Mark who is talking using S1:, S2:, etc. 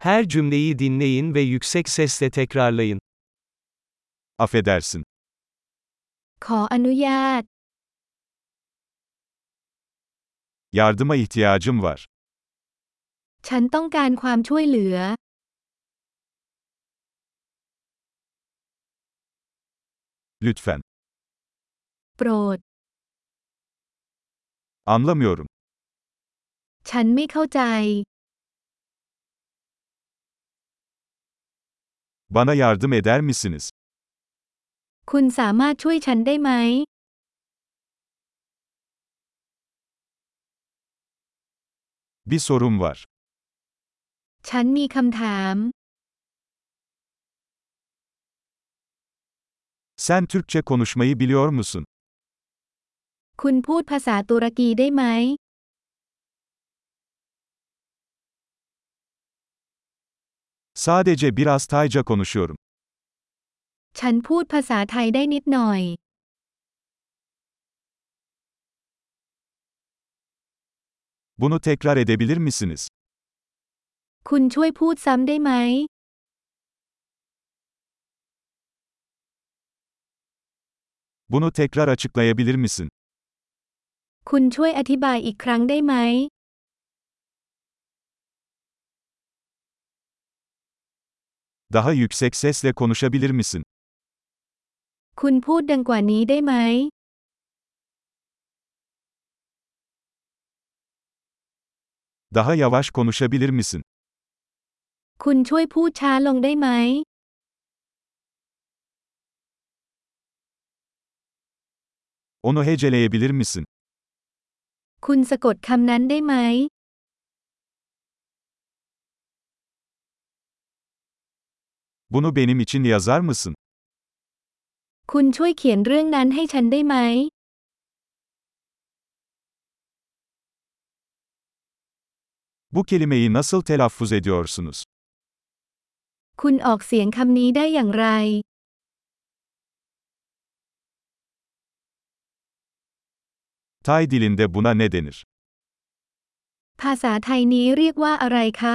S1: Her cümleyi dinleyin ve yüksek sesle tekrarlayın.
S2: Affedersin.
S3: ขออนุญาต
S2: Yardıma ihtiyacım var.
S3: ฉันต้องการความช่วยเหลือ
S2: Lütfen.
S3: โปรด
S2: Anlamıyorum.
S3: ฉันไม่เข้าใจ
S2: Bana yardım eder misiniz?
S3: คุณสามารถช่วยฉันได้ไหม
S2: Bir sorum var.
S3: ฉันมีคำถาม
S2: Sen Türkçe konuşmayı biliyor musun?
S3: คุณพูดภาษาตุรกีได้ไหม
S2: Sadece biraz Tayca konuşuyorum.
S3: ฉันพูดภาษาไทยได้นิดหน่อย
S2: Bunu tekrar edebilir misiniz?
S3: คุณช่วยพูดซ้ำได้ไหม
S2: Bunu tekrar açıklayabilir misin?
S3: คุณช่วยอธิบายอีกครั้งได้ไหม
S2: Daha yüksek sesle konuşabilir misin?
S3: คุณพูดดังกว่านี้ได้ไหม
S2: Daha yavaş konuşabilir misin?
S3: คุณช่วยพูดช้าลงได้ไหม
S2: Onu heceleyebilir misin?
S3: คุณสะกดคำนั้นได้ไหม
S2: Bunu benim için yazar mısın?
S3: คุณช่วยเขียนเรื่องนั้นให้ฉันได้ไหม
S2: Bu kelimeyi nasıl telaffuz ediyorsunuz?
S3: คุณออกเสียงคำนี้ได้อย่างไร
S2: Tay dilinde buna ne denir?
S3: ภาษาไทยนี้เรียกว่าอะไรคะ